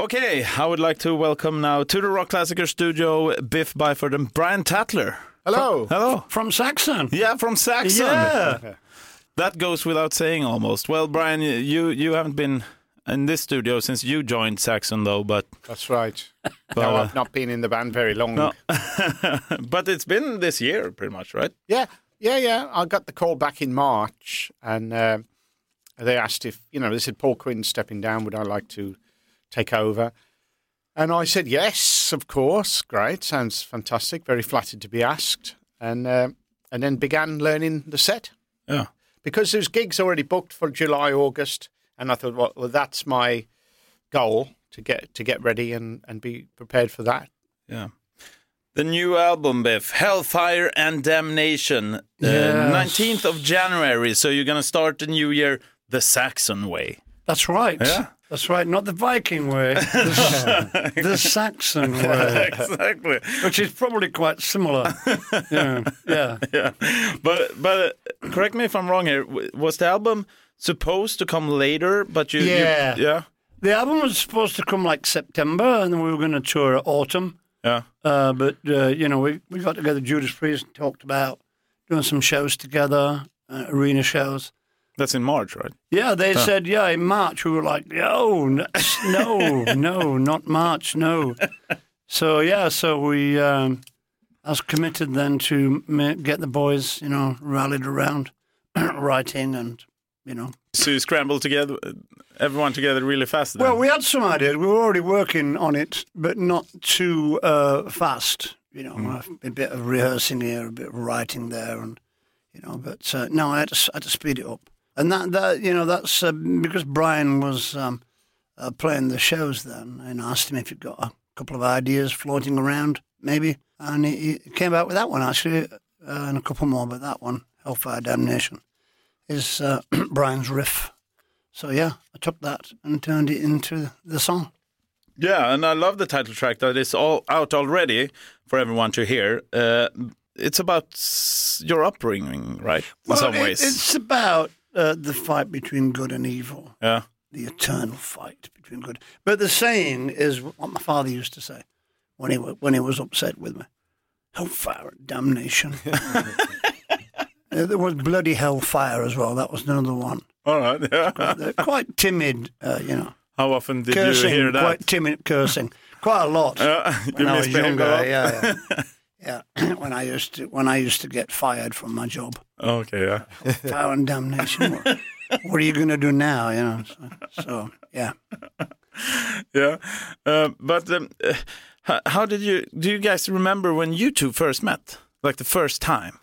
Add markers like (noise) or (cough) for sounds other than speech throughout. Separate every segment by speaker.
Speaker 1: Okay, I would like to welcome now to the Rock Classicer studio Biff Byford and Brian Tatler.
Speaker 2: Hello.
Speaker 1: Hello.
Speaker 3: From Saxon.
Speaker 1: Yeah, from Saxon.
Speaker 3: Yeah.
Speaker 1: (laughs) That goes without saying almost. Well, Brian, you you haven't been in this studio since you joined Saxon though, but (laughs)
Speaker 2: That's right. no, I've not been in the band very long.
Speaker 1: no. but it's been this year pretty much, right?
Speaker 2: Yeah, yeah, yeah. I got the call back in March, and uh, they asked if you know they said Paul Quinn stepping down. Would I like to take over? And I said yes, of course. Great, sounds fantastic. Very flattered to be asked, and uh, and then began learning the set
Speaker 1: Yeah.
Speaker 2: because there's gigs already booked for July, August, and I thought, well, well that's my goal to get to get ready and, and be prepared for that.
Speaker 1: Yeah. The new album, Biff, Hellfire and Damnation, uh,
Speaker 3: Yes.
Speaker 1: 19th of January. So you're going to start the new year the Saxon way. (laughs)
Speaker 3: That's right.
Speaker 1: Yeah.
Speaker 3: That's right. Not the Viking way, the, the Saxon way,
Speaker 1: exactly.
Speaker 3: which is probably quite similar. yeah. yeah.
Speaker 1: Yeah. But but uh, correct me if I'm wrong here. W- Was the album supposed to come later, but you you-
Speaker 3: Yeah.
Speaker 1: yeah.
Speaker 3: The album was supposed to come like September, and then we were going to tour at autumn.
Speaker 1: Yeah.
Speaker 3: Uh, but uh, you know, we we got together. Judas Priest and talked about doing some shows together, uh, arena shows.
Speaker 1: That's in March, right?
Speaker 3: Yeah, they said yeah in March. We were like, no, n- (laughs) no, no, not March, no. So yeah, so we um, I was committed then to ma- get the boys, you know, rallied around, (clears throat) writing and you know.
Speaker 1: So you scrambled together, everyone together really fast. Then.
Speaker 3: Well, we had some ideas. We were already working on it, but not too uh, fast. You know, a bit of rehearsing here, a bit of writing there, and you know. But uh, no, I had, to, s- I had to speed it up, and that that you know that's uh, because Brian was um, uh, playing the shows then, and I asked him if he'd got a couple of ideas floating around, maybe, and he, he came out with that one actually, uh, and a couple more, but that one, Hellfire Damnation, is uh, (clears throat) Brian's riff. So yeah, I took that and turned it into the song.
Speaker 1: Yeah, and I love the title track that is all out already for everyone to hear. Uh, it's about s- your upbringing, right? In some
Speaker 3: it-
Speaker 1: ways.
Speaker 3: it's about uh, the fight between good and evil,
Speaker 1: Yeah.
Speaker 3: the eternal fight between good. But the saying is what my father used to say when he wa- when he was upset with me: "Hellfire, and
Speaker 1: (laughs)
Speaker 3: damnation." Uh, There was bloody hellfire as well. That was another one.
Speaker 1: All right. (laughs) Yeah.
Speaker 3: They're quite timid, uh, you know,
Speaker 1: How often did
Speaker 3: cursing.
Speaker 1: you hear that?
Speaker 3: Quite timid cursing. Quite a lot.
Speaker 1: Uh, (laughs) you
Speaker 3: when I was
Speaker 1: misbehaved
Speaker 3: younger,
Speaker 1: a lot.
Speaker 3: yeah, yeah, (clears throat) yeah. when I used to when I used to get fired from my job,
Speaker 1: Okay. Yeah.
Speaker 3: power and
Speaker 1: (laughs)
Speaker 3: damnation. what, what are you going to do now? You know, so, so yeah.
Speaker 1: Yeah. Uh, but um, uh, how, how did you? Do you guys remember when you two first met? Like the first time?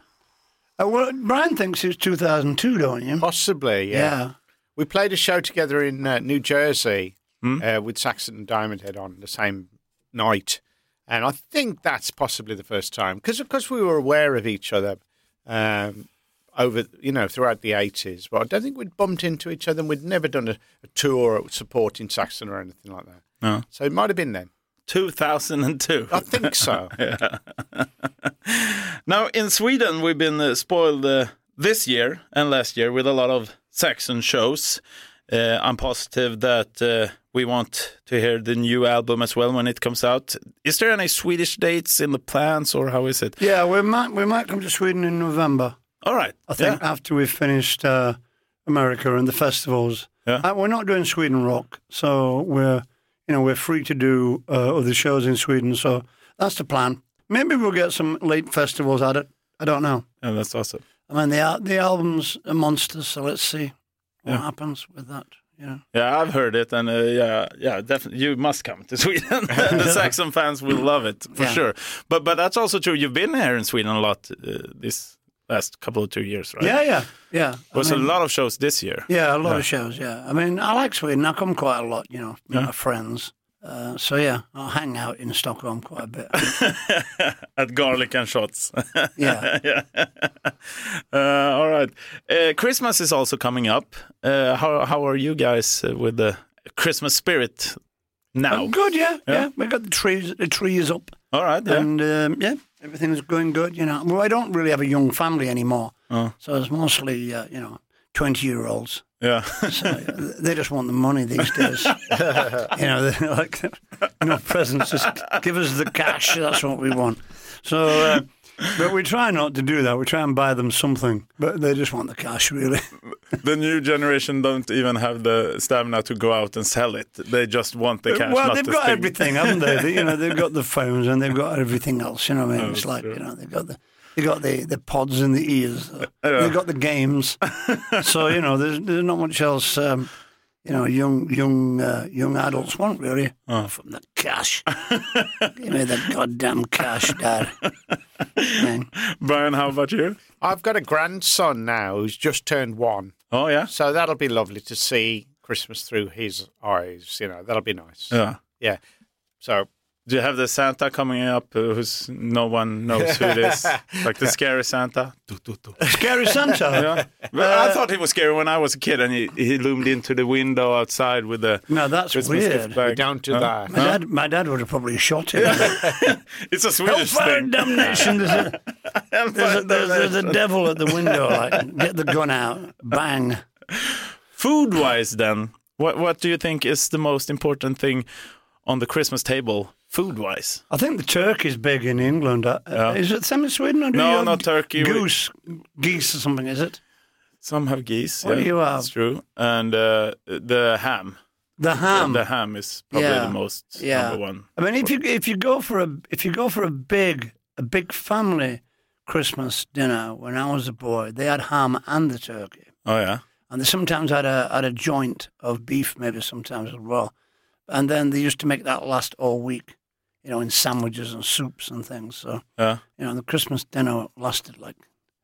Speaker 3: Uh, well, Brian thinks it's 2002, don't
Speaker 2: (laughs)
Speaker 3: you?
Speaker 1: Oh,
Speaker 2: Possibly,
Speaker 3: yeah.
Speaker 2: We played a show together in uh, New Jersey uh, with Saxon and Diamond Head on the same night. And I think that's possibly the first time because, of course, we were aware of each other um, over, you know, throughout the 80s. But I don't think we'd bumped into each other and we'd never done a, a tour or supporting Saxon or anything like that.
Speaker 1: No.
Speaker 2: So it might have been then.
Speaker 1: 2002.
Speaker 3: Uh,
Speaker 2: I think so.
Speaker 1: Now in Sweden, we've been uh, spoiled uh, this year and last year with a lot of Saxon shows. Uh, I'm positive that uh, we want to hear the new album as well when it comes out. Is there any Swedish dates in the plans, or how is it?
Speaker 3: Yeah, we might we might come to Sweden in November.
Speaker 1: All right,
Speaker 3: I think
Speaker 1: Yeah.
Speaker 3: after we've finished uh, America and the festivals.
Speaker 1: Yeah.
Speaker 3: Uh, we're not doing Sweden rock, so we're you know we're free to do uh, other shows in Sweden. So that's the plan. Maybe we'll get some late festivals at it. I don't know.
Speaker 1: Yeah, Oh, that's awesome.
Speaker 3: I mean, the al- the album's a monster, so let's see what happens with that. Yeah.
Speaker 1: Yeah, I've heard it, and uh, yeah, yeah, definitely. You must come to (laughs) Sweden. the Saxon fans will love it for
Speaker 3: Yeah.
Speaker 1: sure. But but that's also true. You've been here in Sweden a lot uh, this last couple of two years, right?
Speaker 3: Yeah, yeah, yeah. I
Speaker 1: was
Speaker 3: mean-
Speaker 1: a lot of shows this year.
Speaker 3: Yeah, a lot of shows. Yeah, I mean, I like Sweden. I come quite a lot, you know, with my friends. Uh, so yeah, I hang out in Stockholm quite a
Speaker 1: (laughs)
Speaker 3: bit.
Speaker 1: At Garlic and Shots. (laughs)
Speaker 3: Yeah,
Speaker 1: yeah. Uh, all right. Uh, Christmas is also coming up. Uh, how how are you guys uh, with the Christmas spirit now?
Speaker 3: I'm good. Yeah, yeah, We got the trees, the trees up,
Speaker 1: All right. Yeah.
Speaker 3: and um, yeah, everything's going good. You
Speaker 1: Oh.
Speaker 3: know, well, I don't really have a young family anymore, so it's mostly uh, you know twenty year olds.
Speaker 1: Yeah. (laughs)
Speaker 3: So they just want the money these days. you know, they're like no presents, just give us the cash. That's what we want. So, uh, but we try not to do that. We try and buy them something, but they just want the cash, really.
Speaker 1: the new generation don't even have the stamina to go out and sell it. They just want the cash.
Speaker 3: Uh, well,
Speaker 1: not
Speaker 3: they've
Speaker 1: the
Speaker 3: got
Speaker 1: sting.
Speaker 3: everything, haven't they? They- You know, they've
Speaker 1: (laughs)
Speaker 3: got the phones and they've got everything else. You know, what
Speaker 1: Oh,
Speaker 3: I mean, it's like you know, they've got the. They got the, the pods in the
Speaker 1: (laughs)
Speaker 3: ears. They got the games. so you know, there's, there's not much else. Um, you know, young young uh, young adults want really
Speaker 1: Oh.
Speaker 3: from the cash. Give me the goddamn cash,
Speaker 1: (laughs)
Speaker 3: Dad. Man.
Speaker 1: Brian, how about you?
Speaker 2: I've got a grandson now who's just turned one,
Speaker 1: (laughs) Oh yeah.
Speaker 2: so that'll be lovely to see Christmas through his eyes. You know, that'll be nice.
Speaker 3: Uh,
Speaker 1: Yeah.
Speaker 2: yeah. So
Speaker 1: Do you have the Santa coming up uh, who's no one knows who it (laughs) is? like the scary Santa? Du, du, du.
Speaker 3: Scary Santa.
Speaker 1: Yeah. Well, I thought he was scary when I was a kid and he, he loomed into the window outside with the
Speaker 3: No, that's
Speaker 1: Christmas gift
Speaker 3: weird. My
Speaker 1: bag.
Speaker 2: down to that.
Speaker 3: (laughs) dad, (laughs) my dad would have probably shot him.
Speaker 1: It's a Swedish
Speaker 3: Hellfire
Speaker 1: thing.
Speaker 3: and damnation! There's a, there's, a, there's, there's
Speaker 1: (laughs)
Speaker 3: a devil at the window. Like, get the gun out, bang.
Speaker 1: Food wise, then, what, what do you think is the most important thing on the Christmas table, food wise?
Speaker 3: I think the turkey's big in England. Uh, Is it same in Sweden? Or do
Speaker 1: No,
Speaker 3: you have
Speaker 1: not turkey. We-
Speaker 3: Goose, geese, or something. Is it
Speaker 1: Some have geese.
Speaker 3: What do you have?
Speaker 1: That's true. And uh, the ham.
Speaker 3: the ham?
Speaker 1: the ham is probably
Speaker 3: yeah,
Speaker 1: the most
Speaker 3: yeah.
Speaker 1: number one.
Speaker 3: I mean, if you if you go for a if you go for a big a big family Christmas dinner when I was a boy, they had ham and the turkey.
Speaker 1: Oh, yeah.
Speaker 3: and they sometimes had a had a joint of beef, maybe sometimes as well. And then they used to make that last all week, you know, in sandwiches and soups and things. So
Speaker 1: Yeah.
Speaker 3: you know, the Christmas dinner lasted like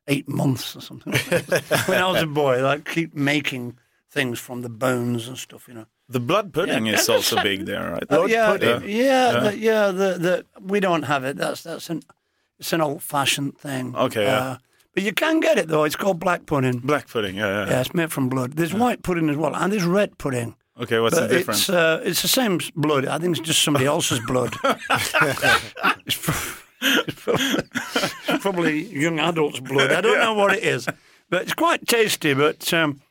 Speaker 3: eight months or something. like that. when I was a boy, like keep making things from the bones and stuff, you know.
Speaker 1: The blood pudding
Speaker 3: (laughs)
Speaker 1: is also big there, right?
Speaker 3: Uh, yeah,
Speaker 1: pudding.
Speaker 3: yeah, yeah, the, yeah. The, the we don't have it. That's that's an it's an old fashioned thing.
Speaker 1: Okay, yeah.
Speaker 3: Uh, but you can get it though. It's called black pudding.
Speaker 1: Black pudding, yeah, yeah.
Speaker 3: Yeah, it's made from blood. There's white pudding as well, and there's red pudding.
Speaker 1: Okay, what's
Speaker 3: But
Speaker 1: the difference?
Speaker 3: It's, uh, it's the same s- blood. I think it's just somebody else's
Speaker 1: (laughs)
Speaker 3: blood. it's, pro- it's probably, it's probably young adults' blood. I don't know what it is, but it's quite tasty. But um,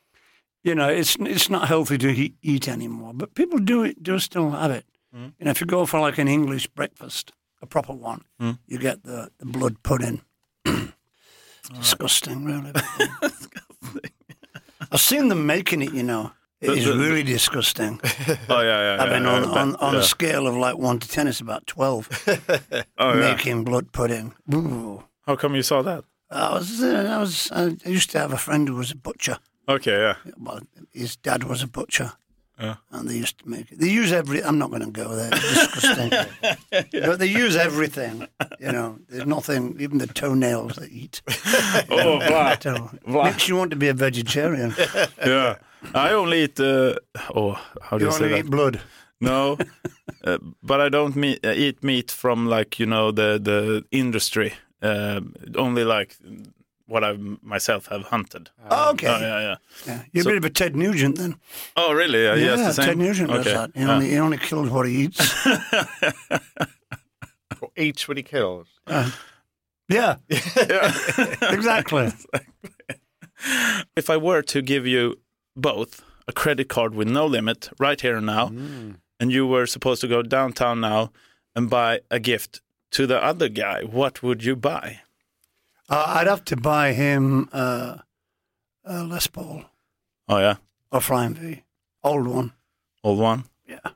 Speaker 3: you know, it's it's not healthy to he- eat anymore. But people do it, do still have it. You know, if you go for like an English breakfast, a proper one,
Speaker 1: Hmm.
Speaker 3: you get the, the blood pudding. (clears throat)
Speaker 1: (laughs)
Speaker 3: Disgusting, really. I've seen them making it. You know, it is
Speaker 1: the-
Speaker 3: really
Speaker 1: (laughs)
Speaker 3: disgusting.
Speaker 1: oh,
Speaker 3: (laughs)
Speaker 1: yeah, yeah.
Speaker 3: I mean,
Speaker 1: yeah,
Speaker 3: on,
Speaker 1: yeah,
Speaker 3: on, on
Speaker 1: yeah.
Speaker 3: a scale of like one to ten, it's about twelve.
Speaker 1: (laughs) Oh, yeah.
Speaker 3: Making blood pudding. Ooh.
Speaker 1: How come you saw that?
Speaker 3: I was, uh, I was, I used to have a friend who was a butcher.
Speaker 1: Okay,
Speaker 3: (laughs)
Speaker 1: yeah.
Speaker 3: Well, his dad was a butcher,
Speaker 1: Yeah.
Speaker 3: and they used to make it. They use every. I'm not going to go there. It's disgusting.
Speaker 1: (laughs)
Speaker 3: But they use everything. You know, there's nothing. Even the toenails they eat.
Speaker 1: Oh, wow.
Speaker 3: So makes you want to be a vegetarian.
Speaker 1: yeah. I only eat. Uh, oh, how do
Speaker 3: You
Speaker 1: you, say
Speaker 3: only
Speaker 1: that?
Speaker 3: eat blood. (laughs)
Speaker 1: No, uh, but I don't meat, uh, eat meat from like you know the the industry. Uh, only like what I myself have hunted.
Speaker 3: okay.
Speaker 1: Oh yeah, yeah.
Speaker 3: Yeah. You're a bit of a Ted Nugent then.
Speaker 1: Oh really? Yeah, he has the same.
Speaker 3: Ted Nugent does
Speaker 1: Okay.
Speaker 3: that. He,
Speaker 1: Yeah.
Speaker 3: only, he only kills what he
Speaker 1: (laughs)
Speaker 3: eats.
Speaker 2: Or eats what he kills.
Speaker 3: yeah.
Speaker 1: Uh,
Speaker 3: (laughs)
Speaker 1: (laughs)
Speaker 3: exactly.
Speaker 1: If I were to give you both a credit card with no limit right here and now, and you were supposed to go downtown now and buy a gift to the other guy, what would you buy?
Speaker 3: Uh, I'd have to buy him uh, a Les Paul
Speaker 1: Oh yeah,
Speaker 3: or Flying V, old one.
Speaker 1: old one.
Speaker 3: Yeah,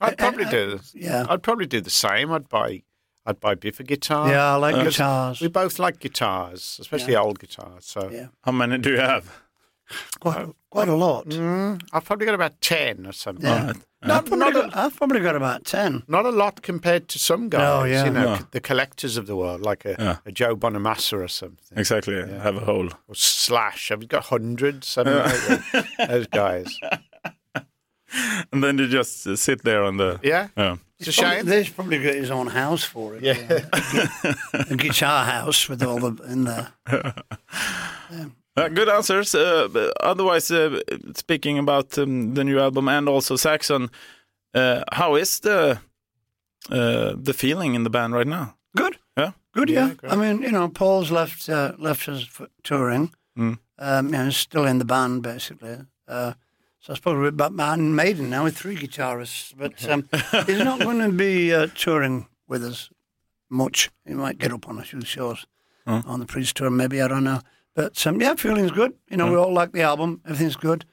Speaker 2: I'd probably do this.
Speaker 3: yeah,
Speaker 2: I'd probably do the same. I'd buy, I'd buy Biff a guitar.
Speaker 3: yeah. I like
Speaker 1: Uh,
Speaker 3: guitars.
Speaker 2: We both like guitars, especially old guitars. So
Speaker 3: Yeah.
Speaker 1: How many do you have?
Speaker 3: Quite, quite a lot.
Speaker 2: Mm, I've probably got about ten or something.
Speaker 3: Yeah.
Speaker 1: All right.
Speaker 3: Uh, I've, probably got, I've probably got about ten.
Speaker 2: Not a lot compared to some guys,
Speaker 3: Oh, yeah.
Speaker 2: you know,
Speaker 1: No.
Speaker 2: c- the collectors of the world, like a,
Speaker 1: Yeah.
Speaker 2: a Joe Bonamassa or something,
Speaker 1: Exactly. I have a whole.
Speaker 2: or Slash. I've got hundreds, something
Speaker 3: Uh,
Speaker 2: like that.
Speaker 3: (laughs)
Speaker 2: Those guys.
Speaker 1: And then you just uh, sit there on the.
Speaker 2: Yeah,
Speaker 3: Uh,
Speaker 1: Yeah.
Speaker 2: it's a shame.
Speaker 3: There's probably got his own house for it.
Speaker 2: Yeah.
Speaker 3: a guitar house with all the in
Speaker 2: (laughs)
Speaker 3: there.
Speaker 1: Uh, good answers. Uh, but otherwise, uh, speaking about um, the new album and also Saxon, uh, how is the uh, the feeling in the band right now?
Speaker 3: Good.
Speaker 1: Yeah.
Speaker 3: Good, yeah.
Speaker 2: Yeah, great.
Speaker 3: I mean, you know, Paul's left uh, left us for touring.
Speaker 1: Mm.
Speaker 3: Um, you know, he's still in the band basically. Uh, so I suppose we're about Iron Maiden now with three guitarists, but um, he's not going to be uh, touring with us much. He might get up on a few shows on the Priest tour, maybe I don't know. But um, yeah, feeling's good. You know, we all like the album. Everything's good.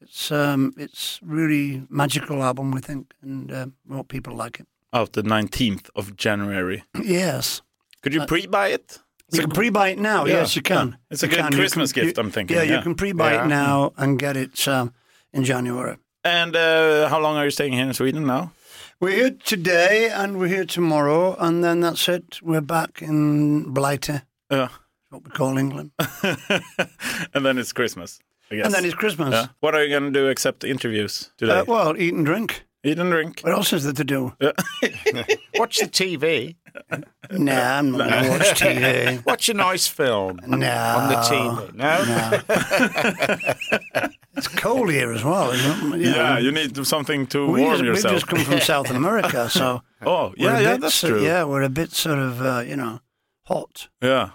Speaker 3: It's um, it's really magical album, we think, and uh, we hope people like it. (clears throat)
Speaker 1: Out the 19th of January.
Speaker 3: yes.
Speaker 1: Could
Speaker 3: Uh,
Speaker 1: you pre-buy it?
Speaker 3: You can pre-buy it now. Yes, you can.
Speaker 1: It's a
Speaker 3: You
Speaker 1: good
Speaker 3: can. You
Speaker 1: Christmas
Speaker 3: can- you-
Speaker 1: gift, I'm thinking,
Speaker 3: Yeah,
Speaker 1: yeah.
Speaker 3: you can pre-buy
Speaker 2: Yeah.
Speaker 3: it now and get it um, in January.
Speaker 1: And uh, how long are you staying here in Sweden now?
Speaker 3: We're here today and we're here tomorrow, and then that's it. We're back in Blighty,
Speaker 1: Uh, (laughs)
Speaker 3: what we call England, (laughs)
Speaker 1: and then it's Christmas, I guess.
Speaker 3: and then it's Christmas.
Speaker 1: Yeah. What are you going to do except interviews today?
Speaker 3: Uh, well, eat and drink.
Speaker 1: Eat and drink.
Speaker 3: What else is there to do?
Speaker 2: (laughs) Watch the TV.
Speaker 3: Nah, I'm not
Speaker 1: (laughs)
Speaker 3: going to watch TV.
Speaker 2: Watch a nice film
Speaker 3: No.
Speaker 2: on the TV. No?
Speaker 3: It's cold here as well. Isn't it?
Speaker 1: Yeah, you need something to
Speaker 3: We
Speaker 1: warm
Speaker 3: just, we've
Speaker 1: yourself.
Speaker 3: just come
Speaker 1: (laughs)
Speaker 3: from South America, so
Speaker 1: Oh,
Speaker 3: we're
Speaker 1: yeah,
Speaker 3: a
Speaker 1: yeah,
Speaker 3: bit
Speaker 1: that's
Speaker 3: so-
Speaker 1: true.
Speaker 3: Yeah, we're a bit sort of uh, you know hot,
Speaker 1: yeah.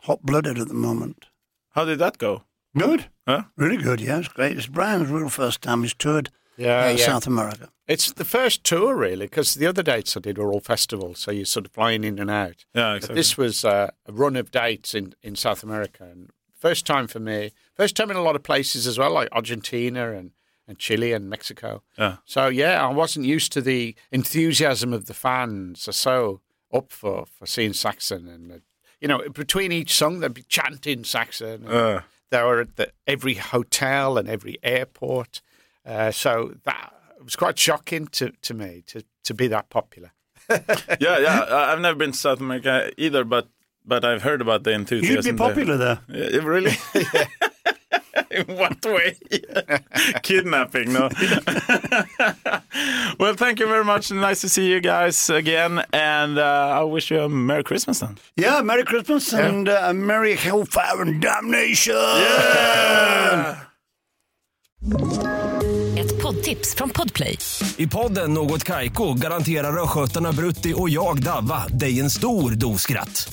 Speaker 3: hot-blooded at the moment.
Speaker 1: How did that go?
Speaker 3: Good.
Speaker 1: Huh?
Speaker 3: Really good, yeah. It's great. It's Brian's real first time he's toured
Speaker 2: Yeah,
Speaker 3: uh,
Speaker 2: yeah.
Speaker 3: South America.
Speaker 2: It's the first tour, really, because the other dates I did were all festivals, so you're sort of flying in and out.
Speaker 1: Yeah,
Speaker 2: But
Speaker 1: exactly.
Speaker 2: this was uh, a run of dates in, in South America, and first time for me. First time in a lot of places as well, like Argentina and, and Chile and Mexico.
Speaker 1: Yeah.
Speaker 2: So yeah, I wasn't used to the enthusiasm of the fans. They're so up for for seeing Saxon, and uh, you know, between each song they'd be chanting Saxon.
Speaker 1: Uh,
Speaker 2: They were at the, every hotel and every airport. Uh, so that was quite shocking to, to me to, to be that popular.
Speaker 1: yeah, yeah. I- I've never been to South America either, but but I've heard about the enthusiasm.
Speaker 3: You'd be
Speaker 1: there.
Speaker 3: popular there.
Speaker 1: Yeah, Eh, really? (laughs) In what way? Kidnapping, no. (laughs) well, thank you very much. Nice to see you guys again. And uh, I wish you a Merry Christmas then.
Speaker 3: Yeah, Merry Christmas and uh, a Merry Hellfire and Damnation!
Speaker 4: Ett poddtips från Podplay.
Speaker 5: I podden Något Kaiko garanterar östgötarna Brutti och jag, Davva, dig en stor dos skratt.